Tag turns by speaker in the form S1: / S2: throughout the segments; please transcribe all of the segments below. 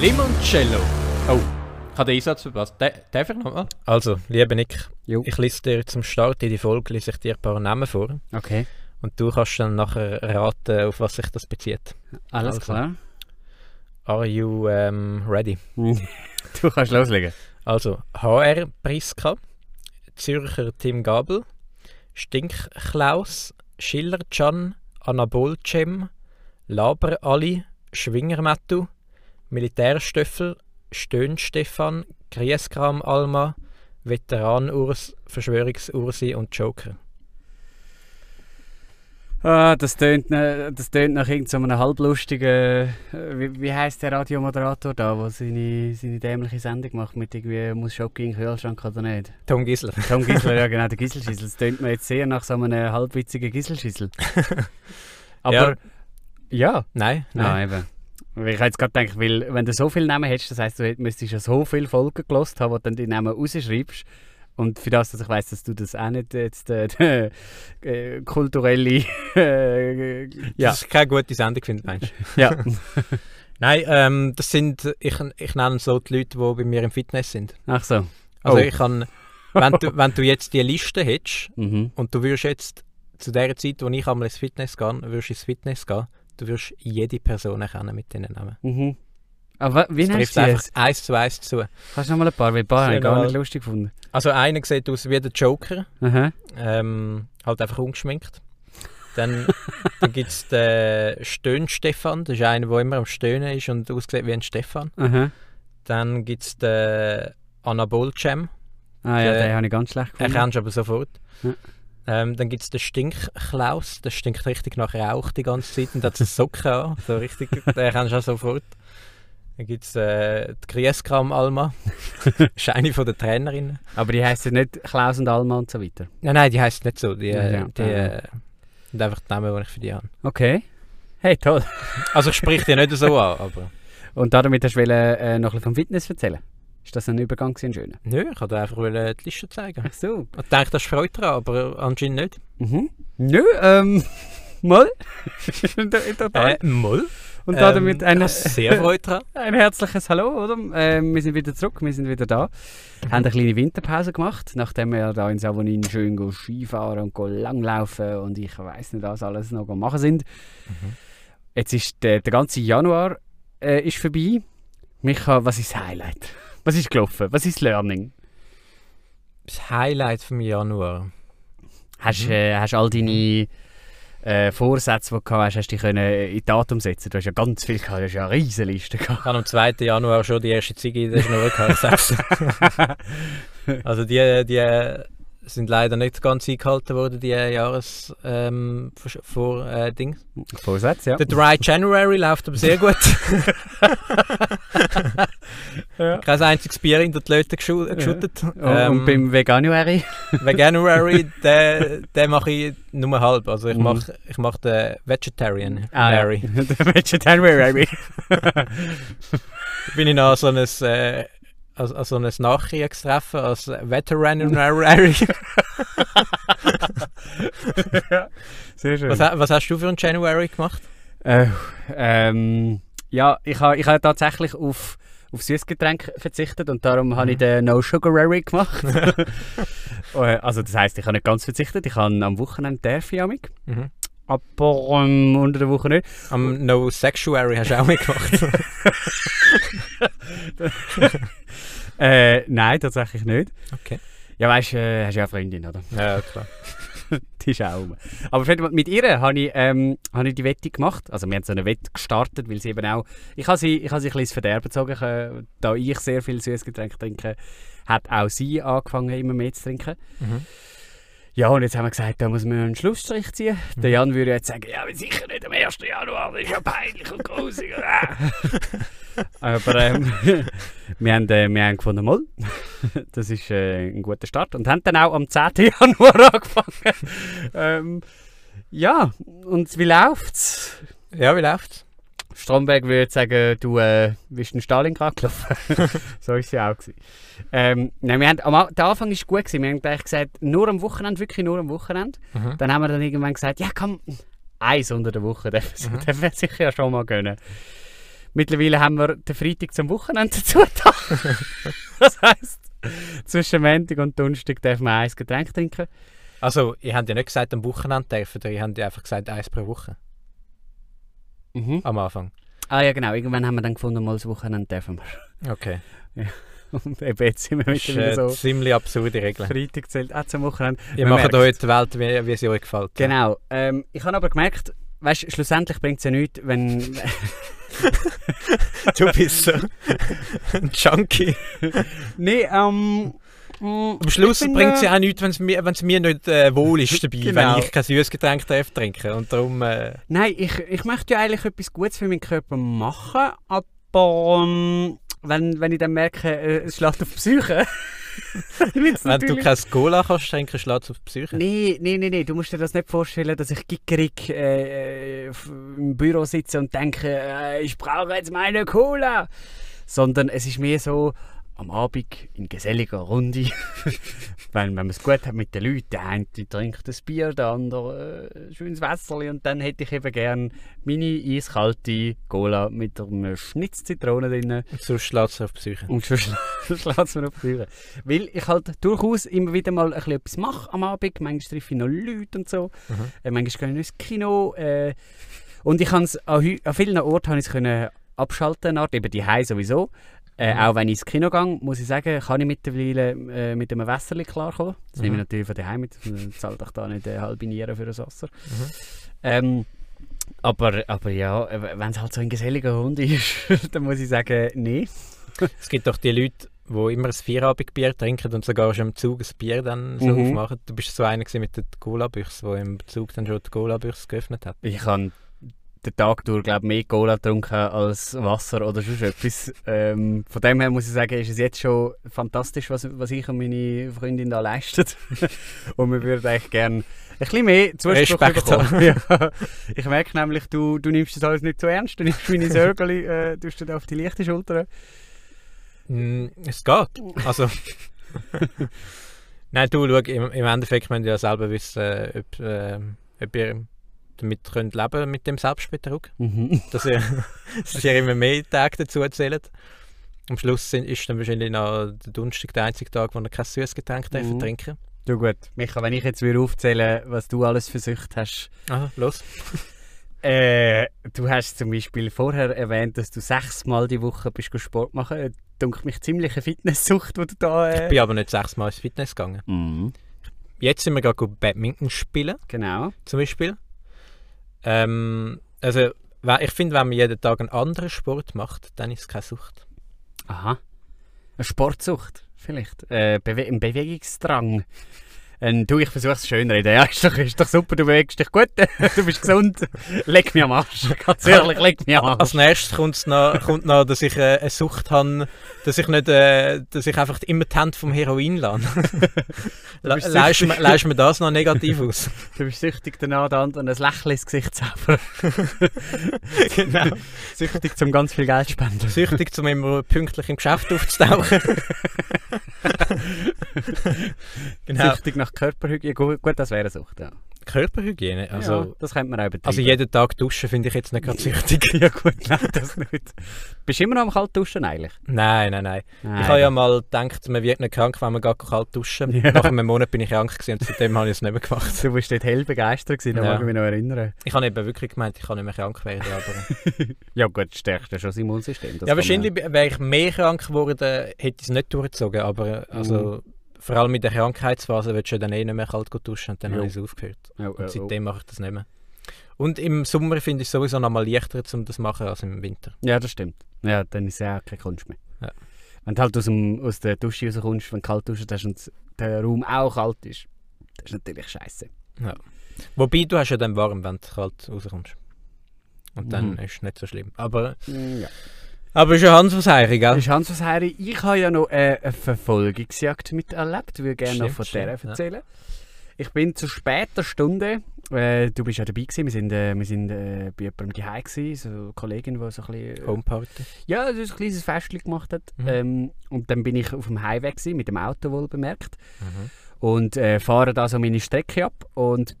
S1: Limoncello. Oh, ich habe den Einsatz verpasst. Da- Darf ich nochmal?
S2: Also, lieber Nick,
S3: Jo.
S2: ich lese dir zum Start in die Folge lese ich dir ein paar Namen vor.
S3: Okay,
S2: Und du kannst dann nachher raten, auf was sich das bezieht.
S3: alles
S2: Also.
S3: klar.
S2: Are you ähm, ready?
S3: Du kannst loslegen.
S2: Also, HR Priska, Zürcher Tim Gabel, Stinkklaus, Schiller Can, Anabol Cem, Laber Ali, Schwinger Mattu, Militärstöffel, Stöhn Stefan, Grieskram Alma, Veteran Urs, Verschwörungs Ursi und Joker.
S3: Ah, das tönt, na- das tönt nach irgendeinem halblustigen. äh, Wie, wie heißt der Radiomoderator da, der seine, seine dämliche Sendung macht mit irgendwie muss Schoki in den Kühlschrank oder nicht?
S2: Tom Gisler.
S3: Tom Gisler, ja genau, der Giselschissel. Das tönt mir jetzt sehr nach so einem halbwitzigen Giselschissel. Aber. ja.
S2: Nein, nein.
S3: Nein, Ah, eben. Weil Ich habe jetzt gerade gedacht, weil wenn du so viele Namen hast, das heisst, du hätt- müsstest ja so viele Folgen gelost haben, wo du dann die Namen rausschreibst. Und für das, dass ich weiss, dass du das auch nicht jetzt äh, der, äh, kulturelle. Äh,
S2: Ja. Das ist keine gute Sendung, finde meinst du?
S3: ja.
S2: Nein, ähm, das sind, ich, ich nenne so die Leute, die bei mir im Fitness sind.
S3: Ach so.
S2: Also
S3: Oh.
S2: ich kann, wenn du, wenn du jetzt die Liste hättest
S3: Mhm.
S2: und du würdest jetzt zu der Zeit, wo ich einmal ins Fitness gehe, würdest ins Fitness gehen, du würdest jede Person erkennen mit diesen Namen.
S3: Mhm. Aber wa- wie
S2: Du
S3: nennst
S2: triffst
S3: du die?
S2: einfach eins zu eins zu.
S3: Kannst du noch mal ein paar? Weil ein paar habe ich gar
S2: Genau.
S3: nicht lustig gefunden.
S2: Also einer sieht aus wie der Joker,
S3: Aha.
S2: ähm, halt einfach ungeschminkt. Dann, dann gibt es den Stöhn-Stefan, das ist einer, der immer am Stöhnen ist und aussieht wie ein Stefan.
S3: Aha.
S2: Dann gibt es den Anabol-Cem,
S3: Ah ja,
S2: Äh,
S3: den habe ich ganz schlecht gefunden.
S2: Erkennst du aber sofort.
S3: Ja.
S2: Ähm, dann gibt es den Stinkklaus, der stinkt richtig nach Rauch die ganze Zeit und hat so Socken an. So richtig, den erkennst du auch sofort. Dann gibt es äh, die Grieskram-Alma, Scheine von der Trainerin.
S3: Aber die heißen nicht Klaus und Alma und so weiter.
S2: Nein, nein, die heisst nicht so. Die, äh,
S3: Ja,
S2: die
S3: ja.
S2: äh, sind einfach die Namen, die ich für die habe.
S3: Okay. Hey, toll.
S2: Also ich sprich die nicht so an, aber...
S3: Und damit hast du wollen, äh, noch ein bisschen vom Fitness erzählen. Ist das ein Übergang gewesen, schöner?
S2: Nö, ich wollte einfach wollen die Liste zeigen.
S3: Ach so.
S2: Ich dachte, das freut daran, aber anscheinend nicht.
S3: Mhm. Nö, ähm, mal. Total.
S2: Äh, ähm, Moll.
S3: Und damit ein,
S2: Sehr freut daran.
S3: ein herzliches Hallo, oder? Ähm, wir sind wieder zurück, wir sind wieder da. Haben eine kleine Winterpause gemacht, nachdem wir da in Savonin schön go Skifahren und go langlaufen und ich weiß nicht, was alles noch go machen sind. Mhm. Jetzt ist der, der ganze Januar äh, ist vorbei. Micha, was ist das Highlight? Was ist gelaufen? Was ist das Learning?
S2: Das Highlight vom Januar.
S3: Hast du äh, hast all deine äh, Vorsätze, die du gehabt hast, hast du die können in die Tat umsetzen? Du hast ja ganz viel gehabt, du hast ja eine riesige Liste gehabt.
S2: Ich habe am 2. Januar schon die erste Ziege in der Schnur gehabt. sag's dir. also die, die sind leider nicht ganz eingehalten worden, die Jahres ähm, Versch- vor äh, Ding.
S3: Vorsätze, ja.
S2: Der Dry January läuft aber sehr gut. Kein einziges Bier in der Leute geschu geschüttet. Ähm,
S3: und beim Veganuary?
S2: Veganuary, den, den mache ich nur halb. Also ich
S3: Mhm.
S2: mache ich mach den Vegetarian
S3: Ah, ja.
S2: Mary.
S3: Der Veganuary.
S2: bin ich noch an so ein, äh, an, an so ein Nachkriegstreffen als Veterinary.
S3: Sehr schön.
S2: was, ha- was hast du für einen January gemacht?
S3: Äh, ähm, ja, ich habe ich ha tatsächlich auf, auf Süßgetränk verzichtet und darum habe ich den No Sugarary gemacht. Äh, also das heisst, ich habe nicht ganz verzichtet. Ich habe am Wochenende darf ich amig,
S2: Mhm.
S3: aber ähm, unter der Woche nicht.
S2: Am No Sexuary hast du auch mitgemacht.
S3: Äh, nein, tatsächlich nicht.
S2: Okay.
S3: Ja, weißt du, äh, hast ja eine Freundin, oder?
S2: ja, klar.
S3: Die ist auch rum. Aber auf jeden Fall, mit ihr habe ich, ähm, habe ich die Wette gemacht. Also wir haben so eine Wette gestartet, weil sie eben auch... Ich habe sie, ich habe sie ein bisschen ins Verderben gezogen, äh, da ich sehr viel Süßgetränk trinke, hat auch sie angefangen immer mehr zu trinken.
S2: Mhm.
S3: Ja, und jetzt haben wir gesagt, da muss man einen Schlussstrich ziehen. Der Jan würde jetzt sagen, ja, aber sicher nicht am 1. Januar, das ist ja peinlich und grusig. aber ähm, wir, haben, äh, wir haben gefunden, mal, das ist äh, ein guter Start. Und haben dann auch am 10. Januar angefangen. ähm, ja, und wie läuft's?
S2: Ja, wie läuft's?
S3: Stromberg würde sagen, du äh, bist in Stalingrad gelaufen. so ist sie auch. Gewesen. Ähm, nein, wir haben, am, A- der Anfang war gut. Gewesen. Wir haben gleich gesagt, nur am Wochenende, wirklich nur am Wochenende.
S2: Mhm.
S3: Dann haben wir dann irgendwann gesagt, ja komm, eins unter der Woche dürfen wir- dürfen wir sicher ja schon mal gönnen. Mittlerweile haben wir den Freitag zum Wochenende dazu getan. das heisst, zwischen Montag und Donnerstag darf man ein Getränk trinken.
S2: Also, ihr habt ja nicht gesagt, am Wochenende dürfen, ihr habt ja einfach gesagt, eins pro Woche am Anfang.
S3: Ah ja, genau. Irgendwann haben wir dann gefunden, mal das Wochenende dürfen wir.
S2: Okay.
S3: Und eben jetzt sind wir
S2: Das ist eine
S3: mittlerweile so.
S2: ziemlich absurde Regel.
S3: Freitag zählt auch zum Wochenende.
S2: Ihr
S3: Man
S2: macht
S3: merkt's.
S2: euch die Welt, wie, wie sie euch gefällt.
S3: Genau. Ähm, ich habe aber gemerkt, weißt, schlussendlich bringt es ja nichts, wenn,
S2: Du bist so ein Junkie.
S3: Nee, ähm. mm,
S2: Am Schluss
S3: ich bin,
S2: bringt es
S3: äh,
S2: ja auch nichts, wenn es mir, wenn's mir nicht äh, wohl ist dabei,
S3: Genau.
S2: wenn ich kein süßes Getränk darf trinken. Und darum, äh,
S3: Nein, ich, ich möchte ja eigentlich etwas Gutes für meinen Körper machen, aber ähm, wenn, wenn ich dann merke, äh, es schlägt auf die Psyche. wird's
S2: wenn du
S3: natürlich-
S2: kein Cola kannst trinken, schlägt es auf die Psyche.
S3: Nee, nee, nee, nee, du musst dir das nicht vorstellen, dass ich gickerig äh, f- im Büro sitze und denke, äh, ich brauche jetzt meine Cola. Sondern es ist mehr so am Abend in geselliger Runde. wenn, wenn man es gut hat mit den Leuten, der eine trinkt ein Bier, der andere äh, ein schönes Wässerli und dann hätte ich eben gern meine eiskalte Cola mit einer Schnitz Zitrone drin.
S2: Und sonst schlägt es auf die Psyche.
S3: Und schon schla- schlägt es mir auf die Führer. Weil ich halt durchaus immer wieder mal ein bisschen etwas mache am Abend. Manchmal treffe ich noch Leute und so.
S2: Mhm.
S3: Äh, manchmal gehe ich ins Kino. Äh, und ich kann's an, hü- an vielen Orten habe ich es können abschalten, eine Art, eben die Hause sowieso. Äh,
S2: Mhm.
S3: Auch wenn ich ins Kino gehe, muss ich sagen, kann ich mittlerweile äh, mit einem Wässerli klarkommen. Das
S2: Mhm.
S3: nehme ich natürlich von daheim mit. Dann zahlt ich da nicht äh, halbe Niere für ein Wasser.
S2: Mhm.
S3: Ähm, aber, aber ja, wenn es halt so ein geselliger Hund ist, dann muss ich sagen, nee.
S2: Es gibt doch die Leute, die immer ein Feierabendbier trinken und sogar schon im Zug ein Bier dann so
S3: Mhm.
S2: aufmachen. Du bist so einer gewesen mit der Cola-Büchse, der im Zug dann schon die Cola-Büchse geöffnet hat.
S3: Ich habe den Tag durch glaub, mehr Cola getrunken als Wasser oder sonst etwas. Ähm, von dem her muss ich sagen, ist es jetzt schon fantastisch, was, was ich und meine Freundin da leisten. und wir würden eigentlich gerne ein bisschen mehr Zuspruch
S2: Respekt
S3: bekommen. ja. Ich merke nämlich, du, du nimmst das alles nicht so ernst. Du nimmst meine Sorgen äh, tust du da auf die leichte Schulter.
S2: Mm, es geht. Also. Nein, du, schau, im, im Endeffekt müsst ihr ja selber wissen, äh, ob, äh, ob ihr damit könnt leben mit dem Selbstbetrug. Dass ihr, dass ihr immer mehr Tage dazu zählt. Am Schluss sind, ist dann wahrscheinlich noch der Donnerstag der einzige Tag, wo ihr kein süßes Getränk
S3: Mhm.
S2: mhm. trinken
S3: Du gut. Micha, wenn ich jetzt wieder aufzähle, was du alles versucht hast,
S2: Aha, los.
S3: Äh, du hast zum Beispiel vorher erwähnt, dass du sechsmal die Woche bist go Sport machen. Äh, Dunkt mich ziemlich eine Fitnesssucht, die du da.
S2: Ich
S3: Äh...
S2: bin aber nicht sechsmal ins Fitness gegangen.
S3: Mhm.
S2: Jetzt sind wir gerade gut Badminton spielen,
S3: Genau.
S2: zum Beispiel. Ähm, also, we- ich finde, wenn man jeden Tag einen anderen Sport macht, dann ist es keine Sucht.
S3: Aha. Eine Sportsucht, vielleicht. Äh, Bewe ein Bewegungsdrang. Ähm, du, ich versuche es schönreden. Ja, ist doch, ist doch super, du bewegst dich gut, du bist gesund. Leg mich am Arsch. Ganz ehrlich, leg mich am Arsch.
S2: Als nächstes kommt's noch, kommt noch, dass ich äh, eine Sucht habe, dass ich nicht, äh, dass ich einfach immer die Hände vom Heroin lasse. Le
S3: bist
S2: leist
S3: süchtig.
S2: mir- leist mir das noch negativ aus?
S3: Du bist süchtig danach, der anderen ein Lächeln ins Gesicht zaubern.
S2: genau.
S3: süchtig, zum ganz viel Geld spenden.
S2: Süchtig, um immer pünktlich im Geschäft aufzutauchen. genau.
S3: Süchtig nach Körperhygiene. Gut, gut das wäre eine Sucht, ja.
S2: Körperhygiene. Also,
S3: ja, das könnte man auch übertreiben.
S2: also jeden Tag duschen finde ich jetzt nicht gerade süchtig.
S3: ja gut, nein, das nicht. Bist du immer noch am Kaltduschen eigentlich?
S2: Nein, nein, nein.
S3: Nein.
S2: Ich habe ja mal gedacht, man wird nicht krank, wenn man gar kalt duschen.
S3: Ja.
S2: Nach einem Monat bin ich krank gewesen und seitdem habe ich es nicht mehr gemacht.
S3: Du warst dort hell begeistert, gewesen, da
S2: Ja.
S3: mag ich mich noch erinnern.
S2: Ich habe eben wirklich gemeint, ich kann nicht mehr krank werden. Aber
S3: Ja gut, stärkt ja schon das Immunsystem.
S2: ja,
S3: Das kann man-
S2: wahrscheinlich wäre ich mehr krank geworden, hätte ich es nicht durchgezogen. Aber äh, also, vor allem mit der Krankheitsphase willst du dann eh nicht mehr kalt gut duschen und dann
S3: Jo.
S2: habe ich es aufgehört.
S3: Oh, oh,
S2: Und
S3: oh.
S2: seitdem mache ich das nicht mehr. Und im Sommer finde ich es sowieso noch mal leichter, um das zu machen, als im Winter.
S3: Ja, das stimmt. Ja, dann ist es ja auch keine Kunst mehr.
S2: Ja.
S3: Wenn du halt aus, dem, aus der Dusche rauskommst, wenn du kalt duschst hast und der Raum auch kalt ist, das ist natürlich scheiße.
S2: Wobei, du hast ja dann warm, wenn du kalt rauskommst. Und dann
S3: Mhm.
S2: ist es nicht so schlimm. Aber,
S3: Ja.
S2: aber ist ja Hans was Heiri, gell?
S3: Ist Hans was Heiri. Ich habe ja noch äh, eine Verfolgungsjagd miterlebt. Ich würde gerne noch
S2: Stimmt,
S3: von der
S2: stimmt, ja.
S3: erzählen. Ich bin zu später Stunde. Äh, du bist ja dabei gewesen. Wir sind, äh, wir sind äh, bei jemandem daheim gewesen, so eine Kollegin, die so ein bisschen, äh,
S2: Homeparty.
S3: ja, so ein kleines Festchen gemacht hat.
S2: Mhm.
S3: Ähm, und dann bin ich auf dem Highway gewesen, mit dem Auto wohl bemerkt
S2: Mhm.
S3: und äh, fahre da so meine Strecke ab und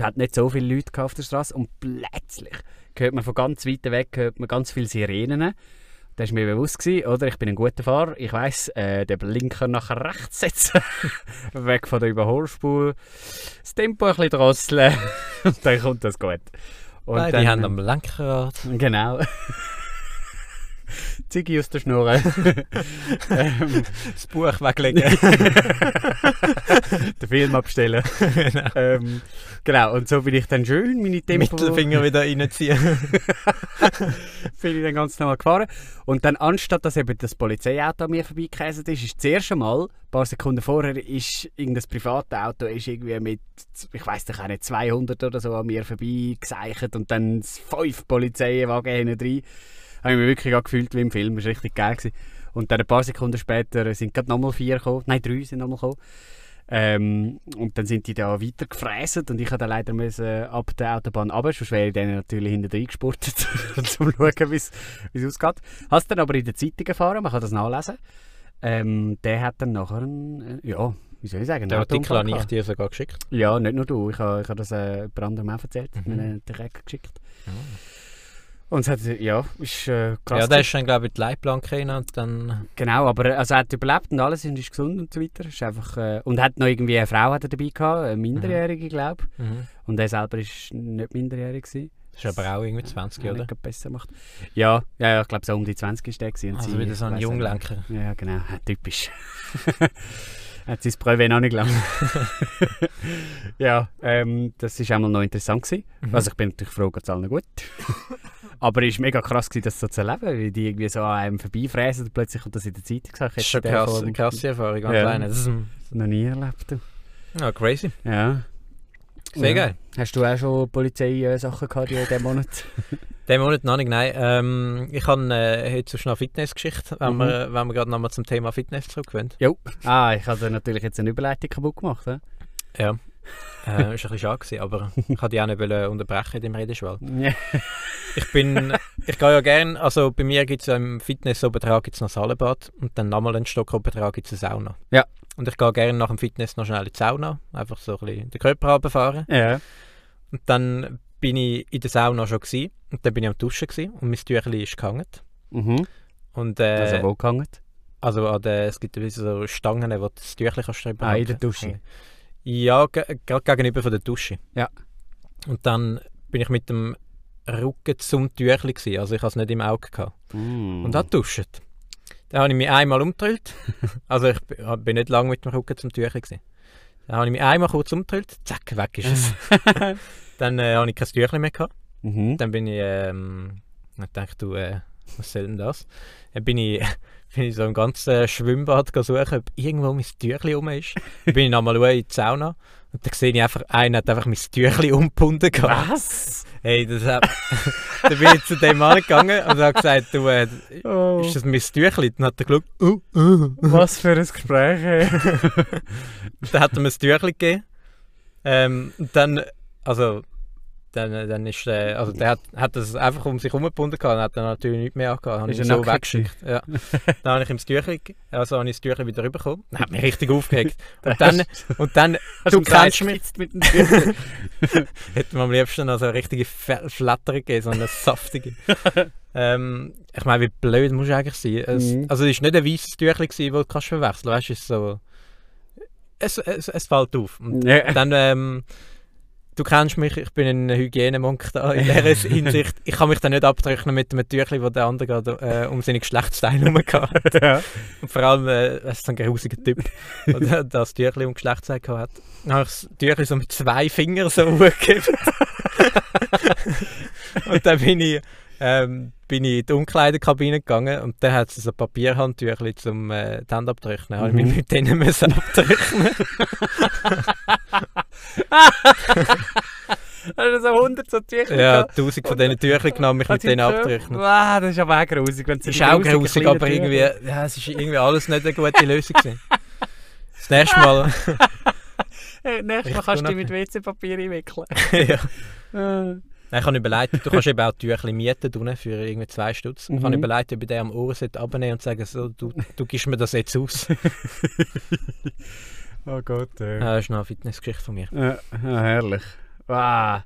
S3: hat nicht so viele Leute gehabt auf der Straße und plötzlich hört man von ganz weit weg hört man ganz viele Sirenen. Das war mir bewusst, gewesen, oder? Ich bin ein guter Fahrer. Ich weiss, äh, den Blinker nach rechts setzen. weg von der Überholspur. Das Tempo ein bisschen drosseln. und dann kommt das gut. Und
S2: Beide
S3: dann-
S2: haben am Lenkrad.
S3: Genau. Ziggy aus der Schnurre. ähm,
S2: Das Buch weglegen.
S3: den Film abstellen.
S2: genau.
S3: ähm, genau, und so bin ich dann schön meine Tempo...
S2: Mittelfinger wieder reinziehen.
S3: bin ich dann ganz normal gefahren. Und dann, anstatt dass eben das Polizeiauto an mir vorbeigekäset ist, ist das erste Mal, ein paar Sekunden vorher, ist irgendein Privatauto ist irgendwie mit, ich weiß doch auch nicht, 200 oder so an mir vorbeigeseichert und dann fünf Polizeiwagen hinten rein. Habe ich mich wirklich auch gefühlt wie im Film, das war richtig geil. Gewesen. Und dann ein paar Sekunden später sind gerade nochmal vier gekommen, nein, drei sind nochmal gekommen. Ähm, und dann sind die da weiter gefräset und ich musste dann leider müssen äh, ab der Autobahn runter, sonst wäre ich denen natürlich hinten reingespurtet, um zu schauen, wie es wie es ausgeht. Hast dann aber in der Zeitung erfahren, man kann das nachlesen. Ähm, der hat dann nachher, einen, äh, ja, wie soll ich sagen, einen
S2: Den Artikel
S3: Autounfall
S2: habe ich
S3: gehabt.
S2: dir sogar geschickt.
S3: Ja, nicht nur du, ich habe ich habe das äh, jemand anderem auch erzählt, mhm. mir einen direkt geschickt. Und es hat, ja, ist äh, krass.
S2: Ah. Ja, der ist dann, glaube ich, in die Leitplanke rein und dann...
S3: Genau, aber also er hat überlebt und alles und ist gesund und so weiter. Ist einfach, äh, und hat noch irgendwie eine Frau hat er dabei gehabt, eine Minderjährige, glaube ich.
S2: Mhm.
S3: Und er selber ist nicht minderjährig. Gewesen,
S2: Das ist aber auch irgendwie 20,
S3: was
S2: oder?
S3: nicht gerade besser macht. Ja, ja, ja ich glaube, so um die 20 ist der. gewesen und
S2: Also
S3: sie-
S2: wieder so ein
S3: ich weiss nicht.
S2: Junglenker.
S3: Ja, genau, ja, typisch. hat sein Preuve noch nicht lang. ja, ähm, das war einmal noch interessant. Gewesen. Also ich bin natürlich froh, geht es allen gut. Aber es war mega krass, gewesen, das so zu erleben, wie die irgendwie so an einem vorbeifräsen und plötzlich kommt das in der Zeitung. Ich sag,
S2: Das ist
S3: hätte
S2: schon
S3: der
S2: krass,
S3: vor-
S2: krasse Erfahrung, ganz
S3: Ja.
S2: alleine. Das ist-
S3: Noch nie erlebt. du.
S2: Ja, crazy.
S3: Ja.
S2: Sehr
S3: Ja.
S2: geil.
S3: Hast du auch schon Polizeisachen gehabt in diesem Monat?
S2: Diesen Monat noch nicht, nein. Ähm, ich habe äh, heute sonst noch eine Fitnessgeschichte, wenn,
S3: Mhm.
S2: wir, wenn wir gerade nochmal zum Thema Fitness zurückkommen.
S3: ah, ich habe dir natürlich jetzt eine Überleitung kaputt gemacht. hä?
S2: Ja. äh, ist ein bisschen schade gewesen, aber ich wollte die auch nicht wollen unterbrechen in dem Redeschwall.
S3: Ja.
S2: Ich bin, ich gehe ja gern, also bei mir gibt es ja im Fitnessobertrag gibt's noch das Hallenbad und dann nochmal einen Stock obendrauf gibt es eine Sauna.
S3: Ja.
S2: Und ich gehe gerne nach dem Fitness noch schnell in die Sauna, einfach so ein bisschen den Körper runterfahren.
S3: ja.
S2: Und dann bin ich in der Sauna schon gewesen, und dann bin ich am Duschen gewesen, und mein Tüchlein ist gehangen.
S3: Mhm.
S2: Und, äh,
S3: Also wo gehangen?
S2: also an der, es gibt ja so Stangen, wo du das Tüchlein kannst du drüber
S3: Ah, in der
S2: halten.
S3: Dusche.
S2: Ja, ge- gerade gegenüber von der Dusche.
S3: Ja.
S2: Und dann bin ich mit dem Rücken zum Tüchlein gewesen, also ich habe es nicht im Auge gehabt.
S3: Mm.
S2: Und
S3: Mhm.
S2: hat duscht. Dann habe ich mich einmal umgedreht. Also ich bin- bin nicht lange mit dem Rücken zum Tüchlein gewesen. Dann habe ich mich einmal kurz umgedreht, zack, weg ist es. dann äh, habe ich kein Tüchlein mehr gehabt.
S3: Mhm.
S2: Dann bin ich, ähm, ich dachte, du, äh, was soll denn das? Dann bin ich, bin ich so im ganzen Schwimmbad gesucht, ob irgendwo mein Tüchli rum ist. Dann bin ich nochmal schauen in die Sauna und dann sehe ich einfach, einer hat einfach mein Tüchli umgebunden gehabt.
S3: Was?
S2: Hey, dus, eh, das hat, dann bin ich zu dem Mann gegangen und habe gesagt, du, äh,
S3: Oh,
S2: ist das mein Tüchli? Dann hat er geschaut, uh, uh.
S3: was für ein Gespräch. ey.
S2: Dann hat er mir ein Tüchli gegeben. Ähm, und dann, also, dann, äh, dann ist äh, also der hat, hat das einfach um sich herumgebunden gehabt und hat dann natürlich nichts mehr angehabt. Habe
S3: Ist
S2: ich ihn
S3: er
S2: so
S3: nackt
S2: weggeschickt. Ja. dann habe ich ihm das Tüchli, ge- also habe ich das Tüchli wieder rüberbekommen. Dann hat mich richtig aufgeregt. Und dann, und dann
S3: Hast
S2: du
S3: gesagt,
S2: kennst mich.
S3: spitzt mit dem Tüchli?
S2: hätte man am liebsten also eine richtige Fe- Flatter gegeben, so eine saftige. ähm, ich meine, wie blöd muss eigentlich sein? Es,
S3: Mhm.
S2: Also es war nicht ein weißes Tüchli, gewesen, das du kannst verwechseln kannst. Es ist so... Es, es, es fällt auf. Und
S3: Ja.
S2: dann, ähm, du kennst mich, ich bin ein Hygienemonk da in dieser Hinsicht. Ich kann mich dann nicht abtrechnen mit einem Tüchli, wo der andere gerade äh, um seine Geschlechtsteile herumgehauen hat.
S3: Ja.
S2: Und vor allem, äh, das ist so ein grusiger Typ, der das Tüchli um Geschlechtsteile gehabt hat. Dann habe ich das Tüchli so mit zwei Fingern so hochgegeben. und dann bin ich, ähm, bin ich in die Umkleidekabine gegangen und dann hat es so Papierhandtüchli zum äh, die Hände abtrechnen. Habe ich
S3: Mhm.
S2: mich mit denen müssen abtrechnen.
S3: Hast du so 100 so Tüchli
S2: ja,
S3: gehabt?
S2: tausend von diesen Tüchli genommen, mich mit
S3: Hast du
S2: denen
S3: schon-
S2: abtrechnen.
S3: Wow, das ist aber auch grusig. Wenn es
S2: Ist
S3: so
S2: auch
S3: grusige
S2: grusig,
S3: kleine
S2: aber
S3: Tüchli-
S2: irgendwie, ja, es ist irgendwie alles nicht eine gute Lösung gewesen. Das nächste Mal,
S3: Hey, nächstes Mal
S2: Richtig
S3: kannst du dich mit WC-Papier einwickeln.
S2: ja.
S3: Äh.
S2: Nein, ich habe überlegt, du kannst eben auch Tüchli mieten tun für irgendwie zwei Stutz. Ich habe
S3: Mhm.
S2: überlegt, ob ich den am Ohr sollte abnehmen und sagen, so, du, du gibst mir das jetzt aus.
S3: Oh Gott, ey.
S2: Oh
S3: Ah.
S2: Ja, das ist noch eine Fitnessgeschichte von mir.
S3: Ja, herrlich. Wow.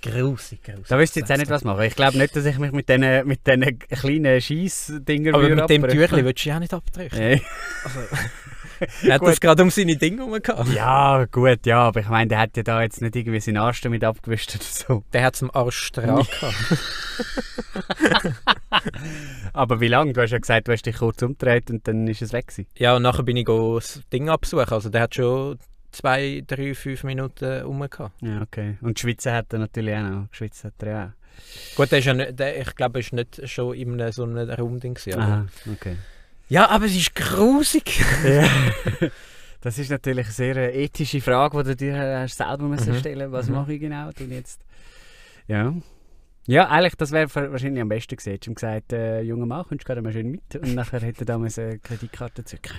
S2: grusig, grusig.
S3: Da wüsste ich jetzt auch nicht, was machen. Ich glaube nicht, dass ich mich mit diesen mit diesen kleinen Scheiss-Dinger
S2: Aber
S3: würde
S2: mit dem
S3: abbrechen.
S2: Tüchli willst du ja auch nicht abdrücken.
S3: Nee.
S2: Er hat
S3: Gut.
S2: das gerade um seine Dinge herum gehabt.
S3: Ja, gut, ja, aber ich meine, der hat ja da jetzt nicht irgendwie seinen Arsch damit abgewischt oder so.
S2: Der hat es am Arsch dran gehabt.
S3: Aber wie lange? Du hast ja gesagt, du hast dich kurz umgedreht und dann ist es weg gewesen.
S2: Ja, und nachher bin ich go das Ding absuchen. Also der hat schon zwei, drei, fünf Minuten rum gehabt.
S3: Ja, okay. Und geschwitzt hat er natürlich auch noch. Geschwitzt hat er auch.
S2: Gut, der ist ja nicht, der, ich glaube, er ist nicht schon in einem, so einem Raumding. gewesen, aber-
S3: Aha, okay.
S2: Ja, aber es ist grusig.
S3: Ja. Das ist natürlich eine sehr äh, ethische Frage, die du dir äh, hast selber müssen
S2: Mhm.
S3: stellen Was
S2: Mhm.
S3: mache ich genau? Und jetzt. Ja. Ja, eigentlich, das wäre ver- wahrscheinlich am besten gewesen. Hättest du ihm gesagt, äh, junger Mann, kommst du gerade mal schön mit? Und nachher hätte er damals eine Kreditkarte zücken.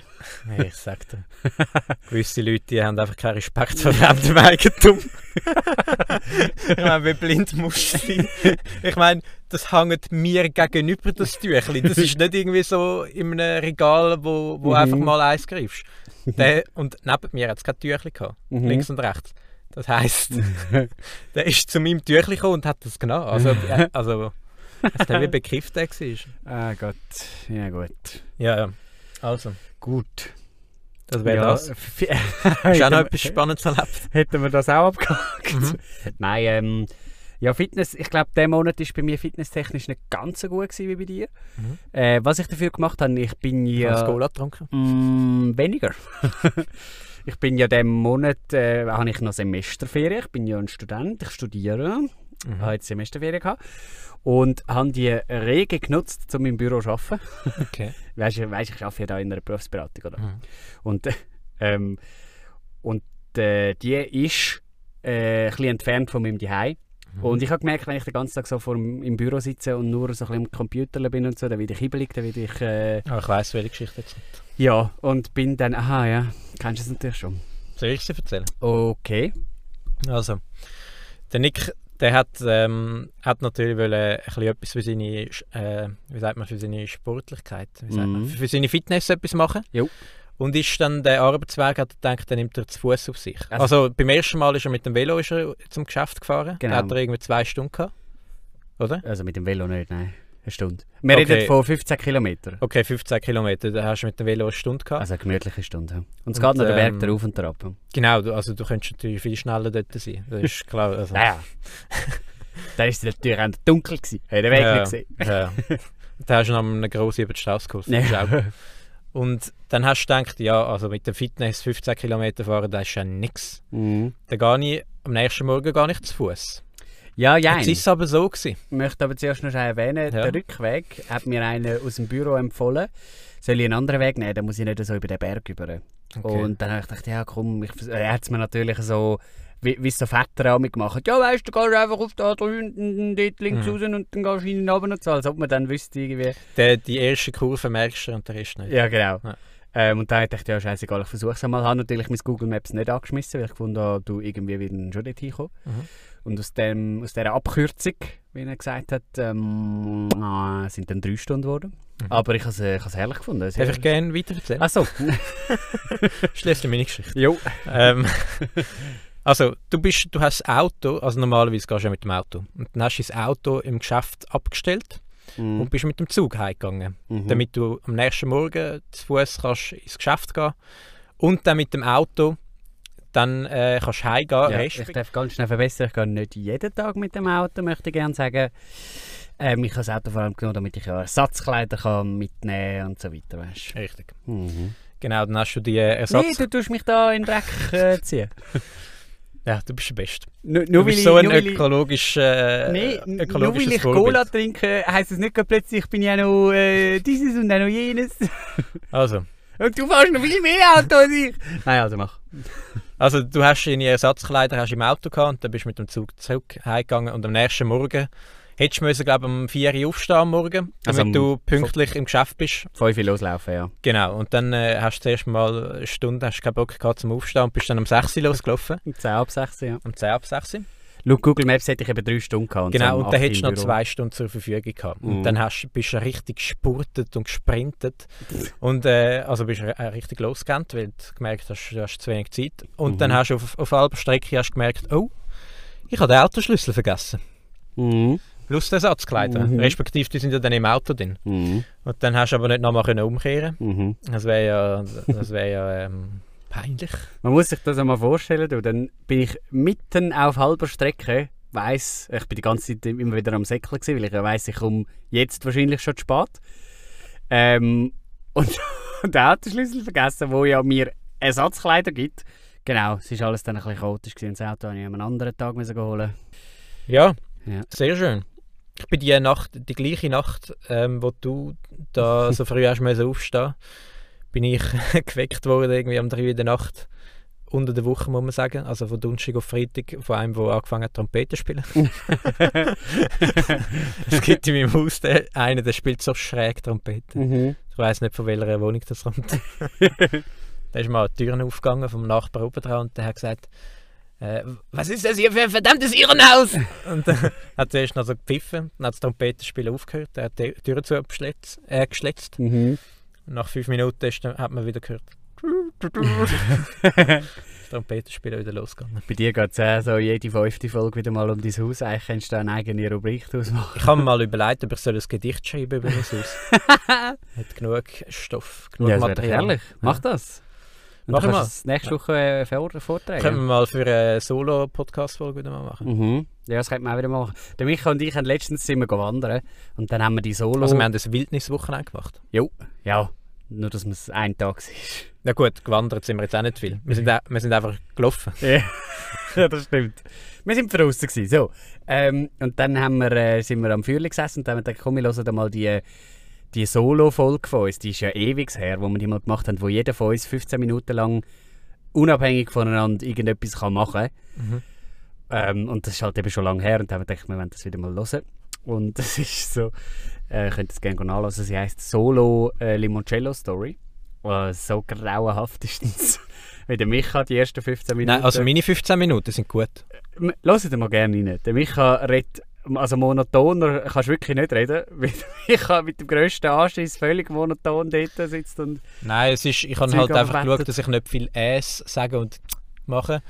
S2: Hey, ich sag dir. Gewisse Leute die haben einfach keinen Respekt vor fremdem Eigentum. ich meine, wie blind musst du sein? Ich meine, das hängt mir gegenüber, das Tüchli. Das ist nicht irgendwie so in einem Regal, wo, wo
S3: Mhm.
S2: einfach mal eins greifst. Der, und neben mir hat es kein Tüchli gehabt,
S3: Mhm.
S2: links und rechts. Das heisst, der ist zu meinem Tüchli gekommen und hat das genommen. Also, äh, also dass der wie bekifft der war.
S3: Ah Gott. Ja gut.
S2: Ja, ja. Also,
S3: Gut.
S2: das wäre
S3: ja,
S2: das. Hast du auch noch etwas
S3: Hätten wir-
S2: Spannendes erlebt?
S3: hätten wir das auch abgehakt.
S2: Mhm.
S3: Nein, ähm, ja, Fitness, ich glaube, der Monat ist bei mir fitnesstechnisch nicht ganz so gut gewesen wie bei dir.
S2: Mhm.
S3: Äh, was ich dafür gemacht habe, ich bin
S2: Ja. Hast du
S3: ja
S2: Cola getrunken?
S3: mm, weniger. ich bin ja diesen Monat, äh, habe ich noch Semesterferien, ich bin ja ein Student, ich studiere, habe jetzt Mhm. Semesterferien gehabt und habe die rege genutzt, um im Büro zu arbeiten.
S2: Okay.
S3: Weißt du, weißt, du, ich arbeite ja da in einer Berufsberatung, oder?
S2: Mhm.
S3: Und, äh, ähm, und äh, die ist äh, ein bisschen entfernt von meinem Zuhause.
S2: Mhm.
S3: Und ich habe gemerkt, wenn ich den ganzen Tag so vor dem, im Büro sitze und nur so ein bisschen am Computer bin und so, dann werde ich hibbelig, dann werde ich... Äh,
S2: Aber Ah, ich weiss, welche Geschichte jetzt kommt.
S3: ja, und bin dann... Aha, ja, kennst du es natürlich schon.
S2: Soll ich sie erzählen?
S3: Okay.
S2: Also, der Nick, der hat, ähm, hat natürlich wollen, ein bisschen etwas für seine, Sch- äh, wie sagt man, für seine Sportlichkeit, wie sagt man,
S3: Mhm.
S2: für seine Fitness etwas machen.
S3: Jo.
S2: Und ist dann der Arbeitsweg, hat er gedacht, dann nimmt er zu Fuß auf sich.
S3: Also-
S2: Also, beim ersten Mal ist er mit dem Velo ist er zum Geschäft gefahren.
S3: Genau.
S2: Da hat er irgendwie zwei Stunden gehabt. Oder?
S3: Also mit dem Velo nicht, nein. Eine Stunde. Wir
S2: Okay.
S3: reden von 15 Kilometern.
S2: Okay, 15 Kilometer, da hast du mit dem Velo eine Stunde gehabt.
S3: Also eine gemütliche Stunde. ja. Und es
S2: Und,
S3: geht noch den Berg
S2: ähm,
S3: da rauf und da runter.
S2: Genau, du- also du könntest natürlich viel schneller dort sein. Das ist klar. Also,
S3: Naja. da war es natürlich auch dunkel. Gewesen. Hat den Weg
S2: Ja.
S3: nicht gesehen.
S2: ja. Da hast du noch eine grosse über die Straße geholfen. Das ist auch-
S3: Ja.
S2: Und dann hast du gedacht, ja, also mit der Fitness 15 Kilometer fahren, das ist ja nichts.
S3: Mhm.
S2: Dann gehe ich am nächsten Morgen gar nicht zu Fuß.
S3: Ja, ja.
S2: Jetzt ist es aber so gewesen.
S3: Ich möchte aber zuerst noch schnell erwähnen,
S2: Ja.
S3: der Rückweg hat mir einer aus dem Büro empfohlen, soll ich einen anderen Weg nehmen, dann muss ich nicht so über den Berg rüber. Und dann habe ich gedacht, ja komm, ich, vers- er hat es mir natürlich so, wie wie es so Väter auch mitgemacht. Ja weißt du, du gehst einfach auf da drüben, dort links
S2: Mhm.
S3: raus und dann gehst du hinten runter und so, als ob man dann wüsste irgendwie.
S2: Der, die erste Kurve merkst du und der Rest nicht.
S3: Ja genau.
S2: Ja.
S3: Ähm, und dann habe ich gedacht, ja scheißegal, ich versuche es einmal. Ich habe natürlich mein Google Maps nicht angeschmissen, weil ich gefunden habe, du irgendwie wieder schon dort hinkommen.
S2: Mhm.
S3: Und aus, dem, aus dieser Abkürzung, wie er gesagt hat, ähm, äh, sind dann drei Stunden geworden.
S2: Mhm.
S3: Aber ich habe es äh, ich habe es herrlich gefunden.
S2: Darf ich gerne weiter erzählen?
S3: Achso.
S2: Schließlich meine Geschichte.
S3: jo.
S2: ähm, also, du, bist, du hast das Auto, also normalerweise gehst du ja mit dem Auto. Und dann hast du das Auto im Geschäft abgestellt und bist mit dem Zug heimgegangen.
S3: Mhm.
S2: Damit du am nächsten Morgen zu Fuß kannst ins Geschäft gehen und dann mit dem Auto dann äh, kannst du heimgehen.
S3: ja, ich
S2: respekt-
S3: darf ganz schnell verbessern, ich gehe nicht jeden Tag mit dem Auto, möchte ich gerne sagen. Ähm, ich habe das Auto vor allem genommen, damit ich ja Ersatzkleider kann mitnehmen kann und so weiter, weißt
S2: Richtig.
S3: du. Mhm.
S2: Genau, dann hast du die äh, Ersatz...
S3: Nee, du tust mich da in den Dreck äh, ziehen.
S2: ja, du bist der Beste.
S3: Nur,
S2: Du
S3: nur
S2: bist
S3: weil
S2: so
S3: ich-
S2: ein
S3: nur weil ich-
S2: ökologisch, äh,
S3: Nee, n- nur weil
S2: ökologisches
S3: ich
S2: Vorbild.
S3: Cola trinke, heisst es nicht gerade plötzlich, ich bin ja noch äh, dieses und dann noch jenes.
S2: Also,
S3: Und du fährst noch viel mehr Auto als ich. Nein, also mach.
S2: Also du hast deine Ersatzkleider hast im Auto gehabt und dann bist du mit dem Zug zurück heimgegangen und am nächsten Morgen hättest du müssen, glaube um 4 Uhr aufstehen am Morgen, damit
S3: Also am
S2: du pünktlich im Geschäft bist.
S3: Fünf loslaufen, ja.
S2: Genau, und dann äh, hast du zuerst mal eine Stunde hast du keinen Bock gehabt zum Aufstehen und bist dann um 6 Uhr losgelaufen,
S3: Um 10 ab 6, ja.
S2: um 10 ab 6 Uhr.
S3: Laut Google Maps hätte ich eben drei Stunden gehabt.
S2: Genau,
S3: so um
S2: und dann
S3: 8
S2: hättest du noch
S3: im Büro.
S2: zwei Stunden zur Verfügung gehabt.
S3: Mhm.
S2: Und dann hast, bist du richtig gespurtet und gesprintet.
S3: Mhm.
S2: und äh, also bist du äh, richtig losgerannt, weil du gemerkt hast, du hast zu wenig Zeit. Und
S3: Mhm.
S2: dann hast du auf, auf halber Strecke hast du gemerkt, oh, Ich habe den Autoschlüssel vergessen.
S3: Mhm.
S2: Plus die Ersatzkleider.
S3: Mhm.
S2: Respektive, die sind ja dann im Auto drin.
S3: Mhm.
S2: Und dann hast du aber nicht nochmal können umkehren.
S3: Mhm.
S2: Das wäre ja, das wäre ja ähm, peinlich.
S3: Man muss sich das einmal vorstellen, du, dann bin ich mitten auf halber Strecke, weiss, ich bin die ganze Zeit immer wieder am Säckeln gewesen, weil ich ja weiss, ich komme jetzt wahrscheinlich schon zu spät. Ähm, und den Autoschlüssel vergessen, wo ja mir Ersatzkleider gibt. Genau, es war alles dann ein bisschen chaotisch, gewesen. das Auto habe ich an einem anderen Tag müssen holen.
S2: Ja,
S3: Ja.
S2: sehr schön. Ich bin die Nacht, die gleiche Nacht, ähm, wo du da so früh hast müssen aufstehen, bin ich geweckt worden irgendwie am 3 Uhr in der Nacht. Unter der Woche muss man sagen, also von Donnerstag auf Freitag, von einem, der angefangen hat Trompete zu spielen. es gibt in meinem Haus den, einen, der spielt so schräg Trompete.
S3: Mhm.
S2: Ich weiß nicht, von welcher Wohnung das kommt. da ist mal die Türen aufgegangen vom Nachbar oben dran und der hat gesagt, äh, was ist das hier für ein verdammtes Irrenhaus? und dann hat er erst noch so gepfiffen, dann hat das Trompetenspiel aufgehört, er hat die Türen zu abgeschletzt- äh, geschletzt.
S3: Mhm.
S2: Und nach fünf Minuten ist, dann- hat man wieder gehört, das Trompetenspiel ist wieder losgegangen.
S3: Bei dir geht es auch so jede fünfte Folge wieder mal um dein Haus. Eigentlich kannst du da eine eigene Rubrik draus machen.
S2: Ich habe mir mal überlegt, ob ich soll ein Gedicht schreiben über mein Haus. Hat genug Stoff, genug
S3: das wäre doch
S2: Material.
S3: herrlich. Mach das. Und
S2: Mach
S3: dann
S2: ich
S3: kannst du es nächste Woche äh, vor,
S2: Können wir
S3: vortragen.
S2: mal für eine Solo-Podcast-Folge wieder mal machen.
S3: Mhm. Ja, das könnte man auch wieder machen. Der Micha und ich haben letztens sind wir go wandern und dann haben wir die Solo.
S2: Also wir haben ein Wildniswochenende gemacht.
S3: ja, nur dass es ein Tag ist.
S2: Na gut, gewandert sind wir jetzt auch nicht viel.
S3: Mhm.
S2: Wir sind, auch- wir sind einfach gelaufen.
S3: ja, das stimmt. Wir sind draußen gewesen, so. Ähm, und dann haben wir, äh, sind wir am Feuer gesessen und dann haben wir gedacht, komm, wir hören da mal die, äh, die Solo-Folge von uns. Die ist ja ewig her, wo wir die mal gemacht haben, wo jeder von uns 15 Minuten lang unabhängig voneinander irgendetwas kann machen kann.
S2: Mhm.
S3: Ähm, und das ist halt eben schon lange her und dann haben wir gedacht, wir wollen das wieder mal hören. Und das ist so, äh, könnt ihr es gerne nachlesen, sie heißt Solo äh, Limoncello Story. Äh, so grauenhaft ist das. Wie der Micha die ersten 15 Minuten.
S2: Nein, also meine 15 Minuten sind gut.
S3: M- Hört ihn mal gerne rein. Der Micha redet, also monotoner kannst du wirklich nicht reden, weil der Micha mit dem grössten Anschiss völlig monoton dort sitzt und...
S2: Nein, es ist, ich habe
S3: Zeug
S2: halt einfach
S3: abwettet.
S2: geschaut, dass ich nicht viel «es» sage und mache.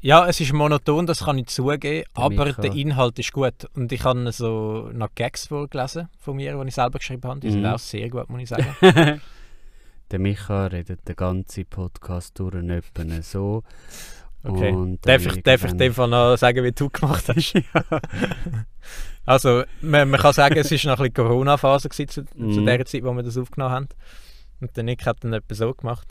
S2: Ja, es ist monoton, das kann ich zugeben, aber
S3: Micha.
S2: der Inhalt ist gut. Und ich habe so noch Gags vorgelesen von mir, die ich selber geschrieben habe. Die sind
S3: Mhm.
S2: auch sehr gut, muss ich sagen.
S3: der Micha redet den ganzen Podcast durch und etwa so.
S2: Okay.
S3: Und
S2: Darf ich, darf ich in
S3: irgendwann-
S2: dem Fall noch sagen, wie du gemacht hast? Also, man, man kann sagen, es war noch ein bisschen Corona-Phase gewesen zu, zu
S3: Mhm.
S2: der Zeit, wo wir das aufgenommen haben. Und der Nick hat dann etwas so gemacht.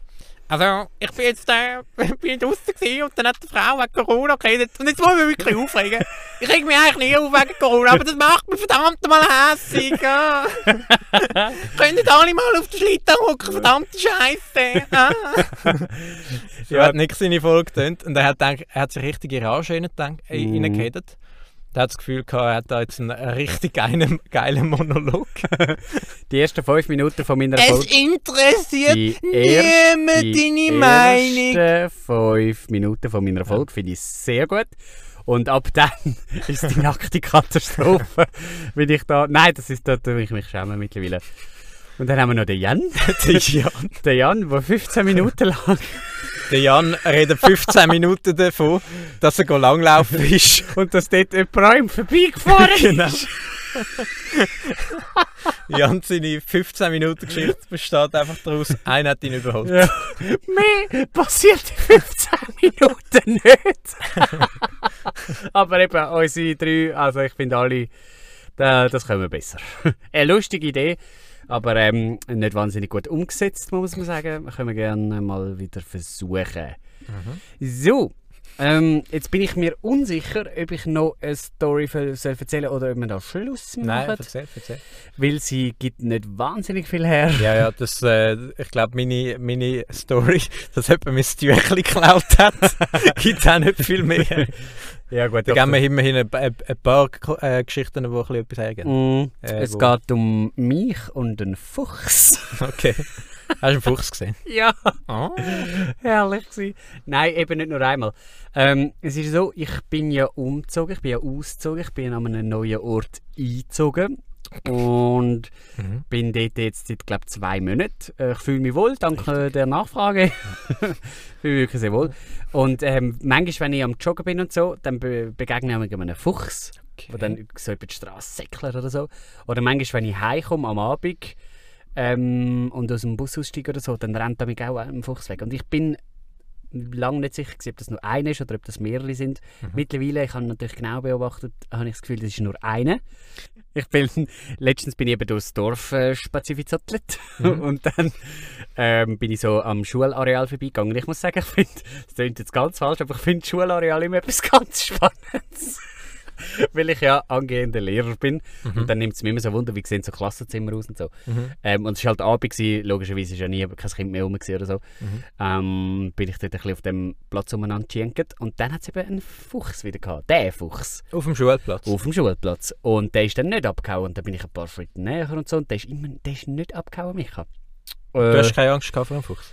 S2: Also, ich bin jetzt äh, ich bin draußen gewesen und dann hat die Frau wegen Corona geredet. Und jetzt muss ich mich wirklich aufregen. Ich reg mich eigentlich nie auf wegen Corona, aber das macht mich verdammt mal hässig. Ah. Könnt ihr alle mal auf den Schlitten hocken, verdammte Scheiße. Ah. ja, hat Nick seine Folge getönt und er hat, gedacht, er hat sich richtig in Rage hineingedank- äh,
S3: Mhm.
S2: hineingeredet. Er hat das Gefühl gehabt, er hat da jetzt einen richtig geilen, geilen Monolog.
S3: Die ersten fünf Minuten von meiner Folge...
S2: interessiert
S3: Die, er die
S2: Meinung.
S3: ersten fünf Minuten von meiner Folge finde ich sehr gut. Und ab dann ist die nackte Katastrophe, wenn ich da... Nein, das ist... Da tue ich mich schämen mittlerweile. Und dann haben wir noch den Jan. den Jan. der Jan, der 15 Minuten lang...
S2: Der Jan redet 15 Minuten davon, dass er go langlaufen ist.
S3: Und dass dort jemand an ihm vorbeigefahren ist.
S2: Genau. Jan seine 15 Minuten Geschichte besteht einfach daraus, einer hat ihn überholt.
S3: Ja. Mehr passiert in 15 Minuten nicht. Aber eben, unsere drei, also ich finde alle, da, das können wir besser. Eine lustige Idee, aber ähm, nicht wahnsinnig gut umgesetzt, muss man sagen. Können wir gerne mal wieder versuchen. Mhm.
S2: Mhm.
S3: So, ähm, jetzt bin ich mir unsicher, ob ich noch eine Story ver- soll erzählen oder ob wir da Schluss machen,
S2: Nein, erzähl, erzähl.
S3: weil sie gibt nicht wahnsinnig viel her.
S2: Ja, ja, das, äh, ich glaube, meine, meine Story, dass jemand mein Tüchli geklaut hat, gibt auch nicht viel mehr.
S3: Ja gut,
S2: Da geben wir immerhin ein, ein, ein paar K- äh, Geschichten, die ein bisschen etwas hergeben.
S3: Mm,
S2: Äh,
S3: es
S2: wo-
S3: geht um mich und einen Fuchs.
S2: Okay. Hast du einen Fuchs gesehen?
S3: ja,
S2: Oh.
S3: Ah. herrlich gewesen. Nein, eben nicht nur einmal. Ähm, es ist so, ich bin ja umgezogen, ich bin ja ausgezogen, ich bin an einem neuen Ort eingezogen. und
S2: Mhm.
S3: bin dort jetzt seit, glaube zwei Monaten. Äh, Ich fühle mich wohl, dank äh, der Nachfrage. fühle mich wirklich sehr wohl. Und ähm, manchmal, wenn ich am Joggen bin und so, dann be begegne ich mir einem Fuchs, der dann so über die Straße säckelt oder so. Oder manchmal, wenn ich heimkomme am Abend ähm, und aus dem Bus aussteige oder so, dann rennt da mich auch ein Fuchs weg. Und ich bin lange nicht sicher, gewesen, ob das nur einer ist oder ob das mehrere sind. Mittlerweile, ich habe natürlich genau beobachtet, habe ich das Gefühl, das ist nur einer. Ich bin, letztens bin ich eben durchs Dorf äh, spazifizottelt und dann ähm, bin ich so am Schulareal vorbeigegangen. Ich muss sagen, ich finde, das klingt jetzt ganz falsch, aber ich finde das Schulareal immer etwas ganz Spannendes. Weil ich ja angehender Lehrer bin.
S2: Hm.
S3: Und dann nimmt es mir immer so Wunder, wie sehen so Klassenzimmer aus und so.
S2: Mhm.
S3: Ähm, und es war halt Abend, gewesen, logischerweise war ja nie kein Kind mehr rum gewesen oder so.
S2: Mhm.
S3: Ähm, bin ich dort ein bisschen auf dem Platz umeinander gejankt. Und dann hat es eben einen Fuchs wieder gehabt. Der Fuchs
S2: Auf dem Schulplatz.
S3: auf dem Schulplatz. Und der ist dann nicht abgehauen. Und dann bin ich ein paar Schritte näher und so. Und der ist, immer, der ist nicht abgehauen, Micha.
S2: Du
S3: Äh,
S2: hast keine Angst gehabt vor dem Fuchs.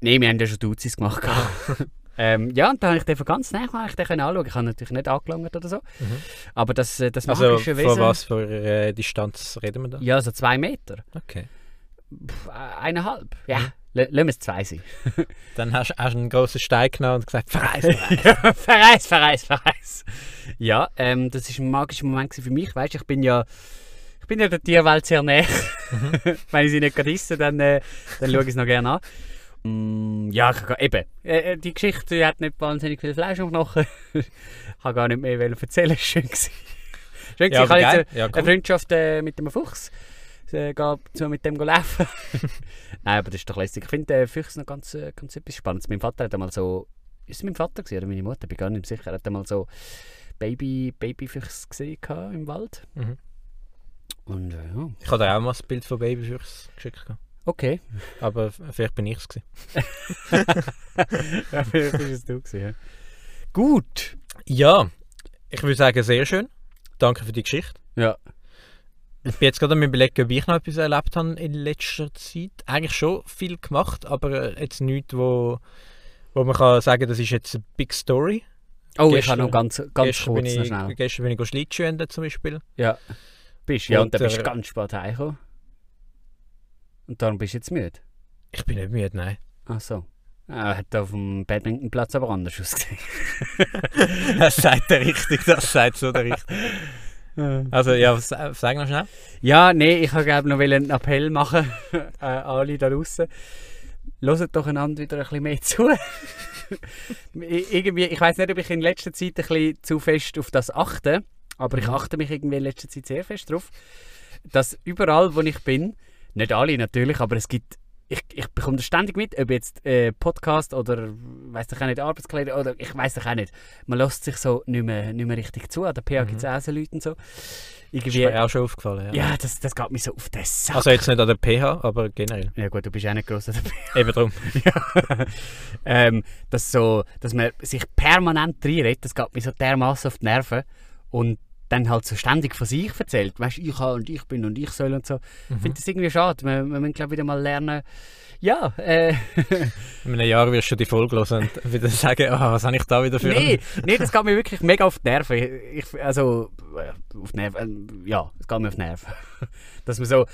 S3: Nein, wir haben ja schon Duzis gemacht. ähm, ja, und da habe ich den von ganz näher habe ich den können anschauen. Ich habe natürlich nicht angelangt oder so. Aber das, äh, das
S2: Mhm. Also
S3: magische
S2: von
S3: Wesen...
S2: was für äh, Distanz reden wir da?
S3: Ja, so zwei Meter.
S2: Okay.
S3: Pff, äh, eineinhalb. Ja, l- lassen wir es zwei sein.
S2: Dann hast du einen grossen Stein genommen und gesagt, verreisen.
S3: Ja, Verreis, Verreis, Verreis. Ja, ähm, das ist ein magischer Moment gewesen für mich. Weißt, ich bin ja, ich bin ja der Tierwelt sehr näher.
S2: Mhm.
S3: Wenn ich sie nicht gerade esse, dann, äh, dann schaue ich es noch gerne an. Mm, ja, ich, kann- eben. Äh, äh, die Geschichte hat nicht wahnsinnig viel Fleisch am Knochen. ich kann gar nicht mehr wollen erzählen. Ist Schön gewesen. Schön
S2: Ja,
S3: gewesen. ich
S2: aber
S3: habe jetzt
S2: geil.
S3: eine,
S2: Ja, cool.
S3: eine Freundschaft äh, mit dem Fuchs. Ich äh, gehe so mit dem laufen. Nein, aber das ist doch lässig. Ich finde äh, Fuchs noch ganz, äh, ganz etwas Spannendes. Mein Vater hat einmal so... Ist es mein Vater gewesen oder meine Mutter? Bin gar nicht sicher. Er hat einmal so Baby, Babyfuchs gesehen gehabt im Wald.
S2: Mhm.
S3: Und äh, ja,
S2: Ich habe dir auch mal ein Bild von Babyfüchs geschickt. gehabt.
S3: okay.
S2: Aber f- vielleicht bin ich es gewesen.
S3: ja, vielleicht bist es du gewesen, ja. Gut.
S2: Ja, ich würde sagen, sehr schön. Danke für die Geschichte.
S3: Ja.
S2: Ich bin jetzt gerade am überlegen, ob ich noch etwas erlebt habe in letzter Zeit. Eigentlich schon viel gemacht, aber äh, jetzt nichts, wo, wo man kann sagen das ist jetzt eine Big Story.
S3: Oh, ich
S2: Gestern-
S3: habe noch ganz, ganz
S2: gestern,
S3: kurz noch
S2: bin
S3: schnell.
S2: ich, gestern bin ich Schlittschuhen zum Beispiel.
S3: Ja. Bist, ja, und,
S2: Und,
S3: dann bist du
S2: äh,
S3: ganz spät heimgekommen. Und darum bist du jetzt müde.
S2: Ich bin nicht müde, nein.
S3: Ach so. Ah, hat auf dem Badmintonplatz aber anders ausgesehen.
S2: Das sagt der richtig, das sagt so der richtig. Also ja, was- äh, sag noch schnell.
S3: Ja, nee, ich wollte noch einen Appell machen äh, an alle da draußen. Hört doch einander wieder ein bisschen mehr zu. I- irgendwie, ich weiß nicht, ob ich in letzter Zeit ein bisschen zu fest auf das achte, aber ich achte mich irgendwie in letzter Zeit sehr fest darauf, dass überall, wo ich bin, nicht alle natürlich, aber es gibt, ich, ich bekomme das ständig mit, ob jetzt äh, Podcast oder weiß ich auch nicht, Arbeitskleider oder ich weiß doch auch nicht. Man lässt sich so nicht mehr, nicht mehr richtig zu. An der PH gibt es auch so Leute und so.
S2: Ist
S3: Irgendwie,
S2: mir auch schon aufgefallen. Ja.
S3: ja, das, das geht mir so auf den Sack.
S2: Also jetzt nicht an der PH, aber generell.
S3: ja gut, du bist auch nicht gross dabei.
S2: Eben drum.
S3: ähm, dass, so, dass man sich permanent reinredet, das geht mir so dermaßen auf die Nerven. Und dann halt so ständig von sich erzählt. Weißt du, ich habe und ich bin und ich soll und so. Ich
S2: Mhm.
S3: finde das irgendwie schade. Wir, wir müssen, glaube ich, wieder mal lernen. Ja, äh,
S2: In einem Jahr wirst du die Folge hören und wieder sagen, ah, was habe ich da wieder für
S3: nee, nee, das geht mir wirklich mega auf die Nerven. Ich, ich- also, äh, auf die Nerven, äh, ja, es geht mir auf die Nerven. Dass man so,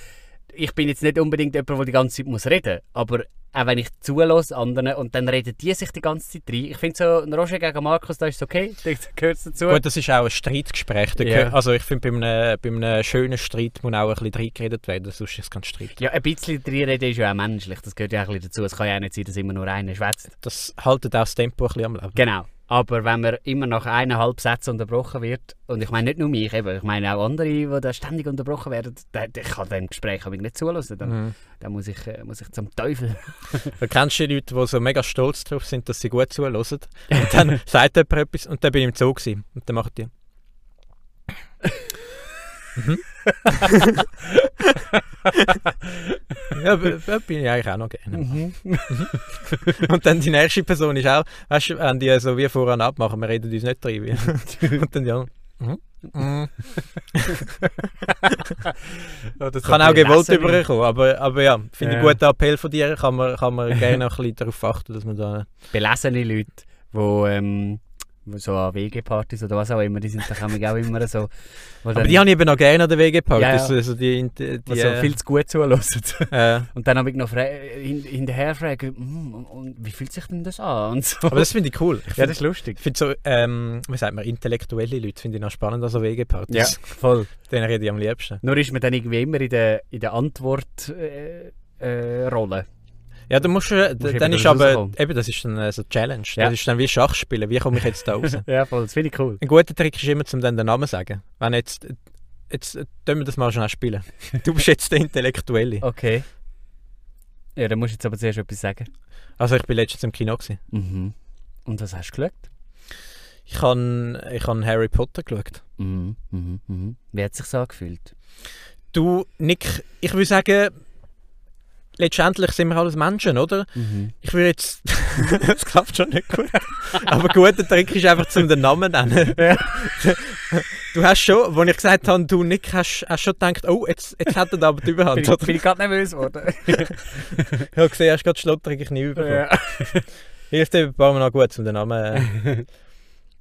S3: ich bin jetzt nicht unbedingt jemand, der die ganze Zeit muss reden muss, aber auch wenn ich zulasse anderen und dann reden die sich die ganze Zeit rein. Ich finde so, ein Roger gegen Markus, da ist es okay, da gehört es dazu.
S2: Gut, das ist auch ein Streitgespräch. Da
S3: Ja.
S2: gehört- Also ich finde, bei einem, bei einem schönen Streit muss auch ein bisschen reingeredet werden, sonst ist es kein Streit.
S3: Ja, ein bisschen reinreden ist ja auch menschlich, das gehört ja auch ein bisschen dazu. Es kann ja auch nicht sein, dass immer nur einer schwätzt.
S2: Das haltet auch das Tempo ein bisschen am Leben.
S3: Genau. Aber wenn man immer nach eineinhalb Sätzen unterbrochen wird, und ich meine nicht nur mich, eben, ich meine auch andere, die da ständig unterbrochen werden, da, da- ich kann dem Gespräch aber nicht zulassen.
S2: Mhm.
S3: Dann, dann muss, ich, äh, muss ich zum Teufel.
S2: Da kennst du die Leute, die so mega stolz drauf sind, dass sie gut zuhören. Und dann sagt jemand etwas und dann bin ich im Zoo gewesen. Und dann macht die. Mhm. ja, b- b- bin ich eigentlich auch noch gerne. Und dann die nächste Person ist auch, weißt du, wenn die so wie voran abmachen, wir reden uns nicht rein. wie- Und dann ja. mhm, mhm. Kann auch gewollt überkommen, aber, aber ja, finde ich
S3: Ja.
S2: einen guten Appell von dir, kann man, kann man gerne noch ein bisschen darauf achten, dass man da...
S3: Belesene Leute, die ähm, so an WG-Partys oder was auch immer, die sind doch auch immer so. wo
S2: Aber
S3: dann-
S2: die habe ich eben noch gerne an der WG-Party.
S3: Ja, ja.
S2: Also, also die, die, die
S3: die so viel zu gut zuhören.
S2: äh, äh,
S3: Und dann habe ich noch fra- hin hinterher gefragt, «Mm, und- und wie fühlt sich denn das an? Und so.
S2: Aber das finde ich cool. Ich
S3: ja,
S2: finde
S3: das ist lustig.
S2: find so, ähm, wie sagt man, intellektuelle Leute finde ich noch spannend an so WG-Partys.
S3: Ja, voll.
S2: Den rede ich am liebsten.
S3: Nur ist man dann irgendwie immer in der, in der Antwort-Rolle. Äh, Rolle.
S2: Ja, du musst, äh,
S3: Musst eben
S2: dann ist
S3: daraus
S2: aber,
S3: rauskommen.
S2: eben, das ist dann äh, so eine Challenge.
S3: Ja.
S2: Das ist dann wie Schachspielen. Wie komme ich jetzt da raus?
S3: ja, voll. Das finde ich cool.
S2: Ein guter Trick ist immer, zum dann den Namen zu sagen. Wenn jetzt, jetzt äh, tun wir das mal schnell spielen. Du bist jetzt der Intellektuelle.
S3: Okay. Ja, dann musst du jetzt aber zuerst etwas sagen.
S2: Also ich bin letztens im Kino gewesen.
S3: Mhm. Und was hast du geschaut?
S2: Ich habe ich han Harry Potter geschaut.
S3: Mhm. Mhm. Mhm. Wie hat es sich angefühlt?
S2: Du, Nick, ich würde sagen, letztendlich sind wir alles Menschen, oder?
S3: Mhm.
S2: Ich würde jetzt... das klappt schon nicht gut. Aber guter Trick ist einfach, zum den Namen nennen. Du hast schon, als ich gesagt habe, du Nick, hast, hast schon gedacht, oh, jetzt, jetzt hat er aber die
S3: Bin
S2: Überhand.
S3: ich,
S2: Oder?
S3: bin ich gerade nervös geworden.
S2: Ich habe gesehen, hast gerade schlotterig nie überkommen. Hilft eben ein paar Mal noch gut, um den Namen... Äh.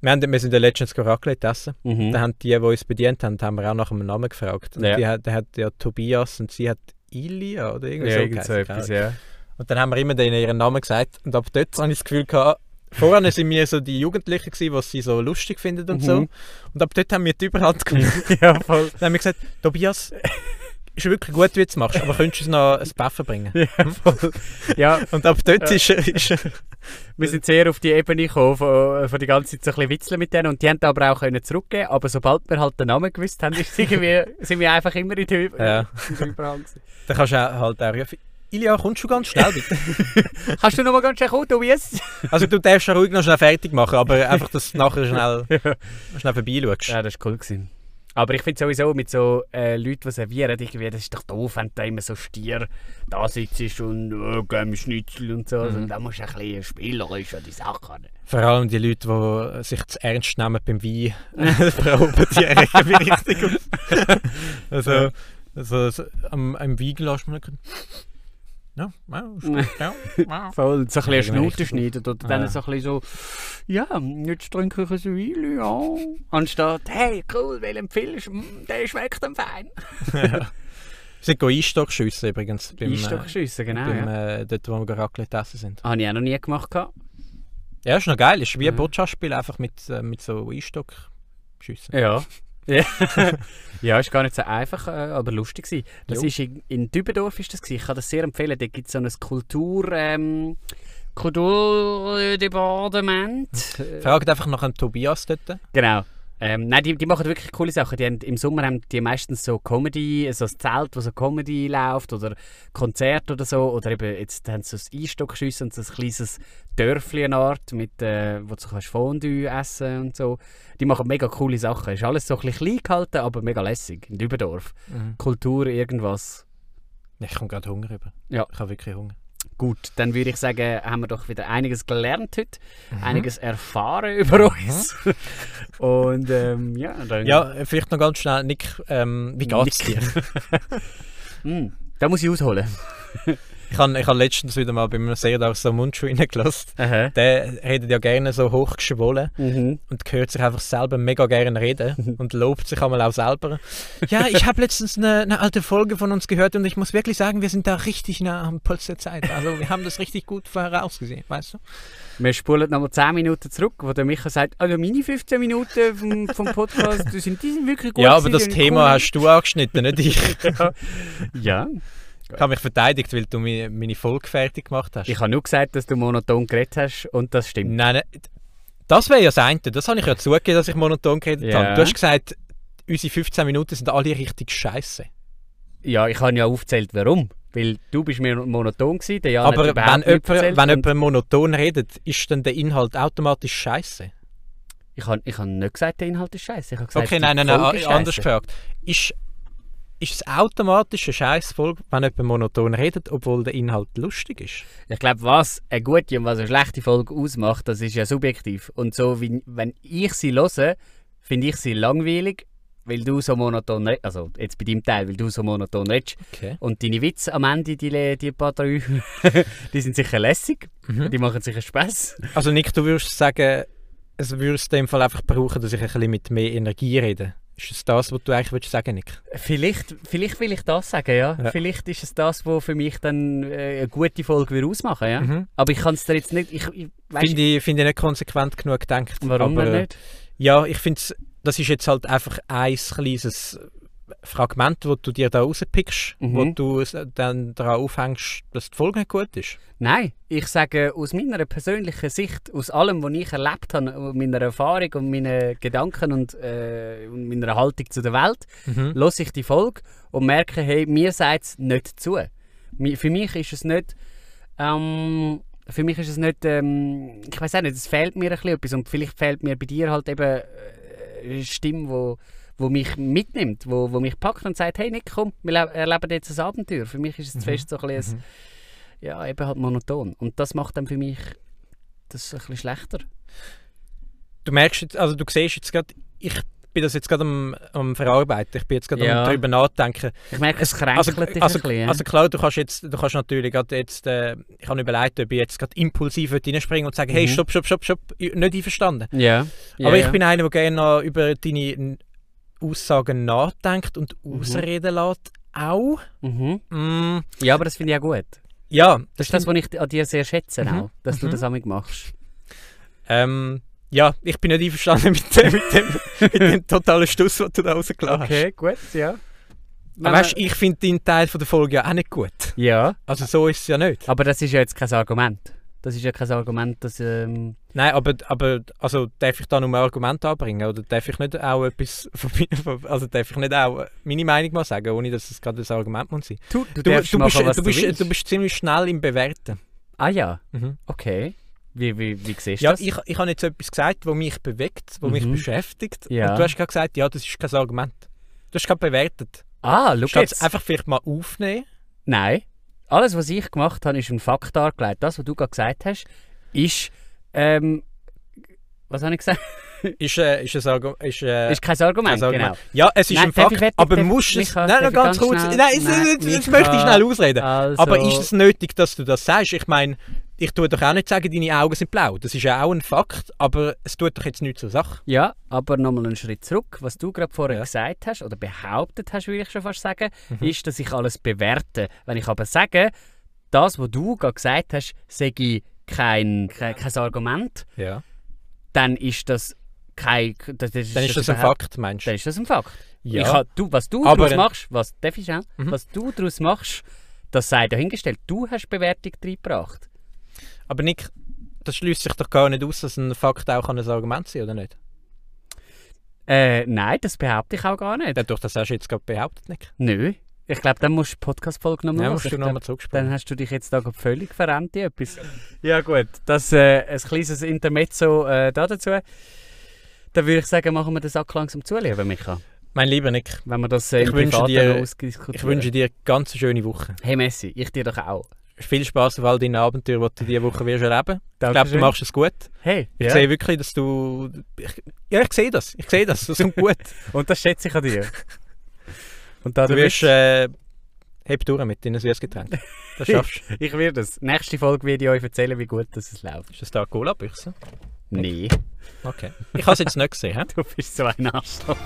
S2: Wir, haben, wir sind ja letztens Raclette essen.
S3: Mhm.
S2: Da haben die, die uns bedient haben, haben wir auch nach einem Namen gefragt. Und
S3: Ja.
S2: die hat, der hat ja Tobias und sie hat Ilia oder irgendwie
S3: Ja,
S2: so.
S3: irgend so
S2: geheißen, keine
S3: etwas,
S2: Ahnung.
S3: ja.
S2: Und dann haben wir immer denen ihren Namen gesagt. Und ab dort habe ich das Gefühl gehabt, vorher waren wir so die Jugendlichen, gewesen, die sie so lustig finden und so.
S3: Mhm.
S2: Und ab dort haben wir die Überhand gemacht.
S3: ja, voll.
S2: dann haben wir gesagt, Tobias, ist wirklich gut, wie du es machst, aber könntest du uns noch ein Beffen bringen?
S3: Ja, voll. ja,
S2: Und ab dort
S3: Ja.
S2: ist, ist
S3: Wir sind sehr auf die Ebene gekommen, von, von die ganze Zeit so ein bisschen witzeln mit denen. Und die haben da aber auch können zurückgehen Aber sobald wir halt den Namen gewusst haben, ist irgendwie, sind wir einfach immer in der, Ü
S2: Ja.
S3: in der Überhang gewesen.
S2: dann kannst du auch halt auch rufen, Ilia, kommst du ganz schnell bitte?
S3: Kannst du noch mal ganz schnell kommen, Tobias?
S2: Also du darfst ja ruhig noch schnell fertig machen, aber einfach, dass du nachher schnell, schnell vorbeischaust.
S3: Ja, das war cool. Gewesen. Aber ich finde sowieso mit so äh, Leuten, die servieren, irgendwie, das ist doch doof, wenn du da immer so Stier da sitzt und äh, geh mir Schnitzel und so. Also, da musst du ein bisschen spielerisch an die Sache an.
S2: Vor allem die Leute, die sich zu ernst nehmen beim Wein, verhoben die regen mich richtig auf. Also, also so, am, am Wein lässt man nicht... Ja, ja, ist gut, ja, ja.
S3: Voll, so ein bisschen
S2: Irgendwie
S3: Schnute
S2: richtig.
S3: schneiden oder
S2: Ja.
S3: dann so ein bisschen so, ja, jetzt trinke ich ein Wein, ja. Anstatt, hey, cool, welchen empfiehlst du? Mm, Der schmeckt dem fein.
S2: Sie gehen Einstock schiessen übrigens. Beim, äh,
S3: Einstochschüsse, genau.
S2: beim,
S3: ja.
S2: äh, dort, wo wir Raclette essen sind.
S3: Habe ich auch noch nie gemacht. gehabt.
S2: Ja, ist noch geil. Ist wie ein
S3: Ja.
S2: Boccia-Spiel, einfach mit, äh, mit so Einstock schiessen.
S3: Ja. ja, ist gar nicht so einfach, äh, aber lustig gewesen. Das
S2: Jo.
S3: ist in, in Dübendorf ist das gewesen. Ich kann das sehr empfehlen. Da gibt es so ein Kultur... Ähm, Kulturdepartement. Äh,
S2: Fragt einfach nach einem Tobias dort.
S3: Genau. Ähm, nein, die, die machen wirklich coole Sachen. Die haben, Im Sommer haben die meistens so Comedy, so ein Zelt, wo so Comedy läuft oder Konzerte oder so. Oder eben jetzt haben sie so ein Einstockschüsse und so ein kleines Dörfli eine Art, mit, äh, wo du kannst Fondue essen und so. Die machen mega coole Sachen. Ist alles so ein bisschen klein gehalten, aber mega lässig. In Dübendorf. Kultur, irgendwas.
S2: Ich komme gerade Hunger über.
S3: Ja.
S2: Ich habe wirklich Hunger.
S3: Gut, dann würde ich sagen, haben wir doch wieder einiges gelernt heute, einiges erfahren über uns. und ähm, ja, dann.
S2: Ja, äh, vielleicht noch ganz schnell, Nick, ähm, wie geht's
S3: Nick.
S2: dir? Hm.
S3: Mm, da muss ich ausholen.
S2: Ich habe ich hab letztens wieder mal bei einem Seher so einen Mundschuh reingelassen.
S3: Aha.
S2: Der redet ja gerne so hochgeschwollen
S3: Mhm.
S2: und hört sich einfach selber mega gerne reden und lobt sich einmal auch selber. Ja, ich habe letztens eine, eine alte Folge von uns gehört und ich muss wirklich sagen, wir sind da richtig nah am Puls der Zeit. Also wir haben das richtig gut vorausgesehen, weißt du?
S3: Wir spulen nochmal 10 Minuten zurück, wo der Micha sagt, also meine 15 Minuten vom, vom Podcast, die sind, die sind wirklich gut.
S2: ja, aber das
S3: gewesen, die haben
S2: Thema hast du angeschnitten, nicht ich.
S3: cool- Ja,
S2: Ich habe mich verteidigt, weil du mi- meine Folge fertig gemacht hast.
S3: ich habe nur gesagt, dass du monoton geredet hast und das stimmt.
S2: Nein, nein, das wäre ja das eine. Das habe ich ja zugegeben, dass ich monoton geredet
S3: Ja.
S2: habe. Du hast gesagt, unsere 15 Minuten sind alle richtig scheiße.
S3: Ja, ich habe ja aufgezählt, warum. Weil du bist mir monoton gewesen, der Jan
S2: Aber
S3: hat
S2: wenn
S3: überhaupt
S2: jemand,
S3: nichts erzählt
S2: wenn
S3: und
S2: jemand monoton redet, ist dann der Inhalt automatisch scheiße.
S3: ich habe ich habe nicht gesagt, der Inhalt ist scheiße. Ich habe gesagt,
S2: Okay,
S3: die
S2: nein, nein, nein,
S3: Folge ist
S2: a- anders
S3: scheisse.
S2: gefragt. Ist, ist es automatisch eine Scheißfolge, wenn jemand monoton redet, obwohl der Inhalt lustig ist?
S3: Ich glaube, was eine gute und was eine schlechte Folge ausmacht, das ist ja subjektiv. Und so, wie, wenn ich sie höre, finde ich sie langweilig, weil du so monoton redest. Also, jetzt bei deinem Teil, weil du so monoton redest.
S2: Okay.
S3: Und deine Witze am Ende, die, le- die paar drei,
S2: Mhm.
S3: die sind sicher lässig, die machen sicher Spass.
S2: Also Nick, du würdest sagen, es würde es in dem Fall einfach brauchen, dass ich ein bisschen mit mehr Energie rede. Ist es das, was du eigentlich willst sagen, Nick?
S3: Vielleicht, vielleicht will ich das sagen, ja.
S2: Ja.
S3: Vielleicht ist es das, was für mich dann äh, eine gute Folge würde ausmachen ja.
S2: Mhm.
S3: Aber ich kann es dir jetzt nicht. Ich, ich, weißt,
S2: Finde ich, finde ich nicht konsequent genug gedacht.
S3: warum
S2: aber,
S3: denn
S2: äh,
S3: nicht?
S2: Ja, ich finde, das ist jetzt halt einfach ein kleines Fragment, das du dir da rauspickst,
S3: Mhm.
S2: wo du es dann daran aufhängst, dass die Folge nicht gut ist.
S3: Nein, ich sage aus meiner persönlichen Sicht, aus allem, was ich erlebt habe, und meiner Erfahrung und meinen Gedanken und, äh, und meiner Haltung zu der Welt, höre ich die Folge und merke, hey, mir sagt es nicht zu. Mi- Für mich ist es nicht. Ähm, für mich ist es nicht. Ähm, ich weiß auch nicht, es fehlt mir ein bisschen etwas. Und vielleicht fehlt mir bei dir halt eben äh, eine Stimme, wo wo mich mitnimmt, wo, wo mich packt und sagt, hey Nick, komm, wir le- erleben jetzt ein Abenteuer. Für mich ist es fest so ein bisschen, ein- ja, eben halt monoton. Und das macht dann für mich das ein bisschen schlechter.
S2: Du merkst jetzt, also du siehst jetzt gerade, ich bin das jetzt gerade am, am Verarbeiten, ich bin jetzt gerade
S3: Ja.
S2: am darüber nachdenken.
S3: Ich merke, es kränkelt
S2: Also,
S3: dich
S2: also,
S3: ein bisschen. ja.
S2: also klar, du kannst jetzt, du kannst natürlich gerade jetzt, äh, ich habe überlegt, ob ich jetzt gerade impulsiv würde reinspringen und sagen, hey,
S3: Mhm.
S2: stopp, stopp, stopp, stopp, ich- nicht einverstanden.
S3: ja. Ja,
S2: Aber
S3: ja.
S2: ich bin einer, der gerne noch über deine n- Aussagen nachdenkt und Ausreden lässt. Auch.
S3: Mhm.
S2: Mm,
S3: Ja, aber das finde ich auch gut.
S2: ja,
S3: Das ist das, was ich an dir sehr schätze,
S2: Mhm.
S3: auch, dass du
S2: Mhm.
S3: das amig machst.
S2: ähm, ja, ich bin nicht einverstanden mit dem, mit dem, mit dem totalen Stuss, den du da rausgelassen
S3: gut, ja.
S2: hast. Aber weißt, ich finde deinen Teil von der Folge ja auch nicht gut.
S3: ja,
S2: Also so ist es ja nicht.
S3: aber das ist ja jetzt kein Argument. Das ist ja kein Argument, dass. Ähm,
S2: Nein, aber, aber also darf ich da nur ein Argument anbringen? Oder darf ich nicht auch etwas von mir, von- also darf ich nicht auch meine Meinung mal sagen, ohne dass es gerade ein Argument muss sein?
S3: du, du,
S2: du, bist, du, bist,
S3: willst.
S2: du bist ziemlich schnell im Bewerten.
S3: Ah ja,
S2: Mhm.
S3: okay. Wie, wie, wie siehst du
S2: Ja,
S3: das?
S2: ich, ich habe jetzt etwas gesagt, was mich bewegt, was mich
S3: Mhm.
S2: beschäftigt.
S3: Ja.
S2: Und du hast gerade gesagt, ja, das ist kein Argument. Du hast gerade bewertet.
S3: ah, schau
S2: Statt es
S3: jetzt.
S2: einfach vielleicht mal aufnehmen.
S3: Nein. Alles, was ich gemacht habe, ist ein Fakt dargelegt. Das, was du gerade gesagt hast, ist. Ähm, was habe ich gesagt?
S2: Ist, äh, ist, ein Argu ist, äh,
S3: ist kein Argument,
S2: kein Argument.
S3: genau.
S2: Ja, es ist
S3: Nein,
S2: ein
S3: darf
S2: Fakt,
S3: ich fertig-
S2: aber
S3: darf-
S2: musst es... nein,
S3: Micha, darf
S2: noch
S3: ich
S2: ganz
S3: ganz
S2: kurz...
S3: schnell-
S2: nein, jetzt,
S3: Nein,
S2: jetzt, jetzt
S3: Micha.
S2: möchte ich schnell ausreden.
S3: Also,
S2: Aber ist es nötig, dass du das sagst? Ich meine, ich tue doch auch nicht sagen, deine Augen sind blau. Das ist ja auch ein Fakt, aber es tut doch jetzt nichts zur Sache.
S3: Ja, aber nochmal einen Schritt zurück. Was du gerade vorher
S2: Ja. Mhm.
S3: gesagt hast, oder behauptet hast, würde ich schon fast sagen, ist, dass ich alles bewerte. Wenn ich aber sage, das, was du gerade gesagt hast, sage kein, kein, kein Argument,
S2: Ja.
S3: dann ist das kein... Das, das
S2: Dann ist das ein
S3: überhaupt-
S2: Fakt, meinst
S3: Dann
S2: du?
S3: ist das ein Fakt.
S2: Ja.
S3: Ich ha- du, was du
S2: Aber
S3: daraus
S2: dann-
S3: machst, was, darf ich auch?
S2: Mhm.
S3: was du daraus machst, das sei dahingestellt. Du hast Bewertung reingebracht.
S2: Aber Nick, das schließt sich doch gar nicht aus, dass ein Fakt auch ein Argument sein kann, oder nicht?
S3: Äh, nein, das behaupte ich auch gar nicht.
S2: Dadurch, dass hast du jetzt gerade behauptet, Nick.
S3: Nö. Ich glaube, dann musst du die Podcast-Folge nochmal
S2: Ja, musst du nochmal
S3: Dann
S2: zurückspringen.
S3: hast du dich jetzt da gerade völlig verrennt in etwas. Ja gut, das äh, ein kleines Intermezzo äh, da dazu. Dann würde ich sagen, machen wir den Sack langsam zu, lieber Micha.
S2: Mein lieber Nick,
S3: Wenn wir das äh,
S2: Ich
S3: im
S2: wünsche
S3: Privaten
S2: dir-
S3: noch
S2: ich
S3: ausdiskutieren.
S2: wünsche dir eine ganz schöne Woche.
S3: Hey Messi, ich dir doch auch.
S2: Viel Spaß auf all deinen Abenteuern, die du diese Woche wirst erleben. Ich glaube, du
S3: Dankeschön.
S2: machst es gut.
S3: Hey,
S2: Ich
S3: ja.
S2: sehe wirklich, dass du... Ich, ja, ich sehe das. Ich sehe das. Das kommt gut.
S3: Und das schätze ich an dir. Und da
S2: Du wirst... Äh, heb durch mit deinem Süßgetränk. Das schaffst du.
S3: äh, Ich werde es. Nächste Folge werde ich euch erzählen, wie gut das es läuft.
S2: Ist das da eine Cola-Büchse?
S3: Nee,
S2: Okay. Ich habe es jetzt nicht gesehen. hä?
S3: du bist so ein Arschloch.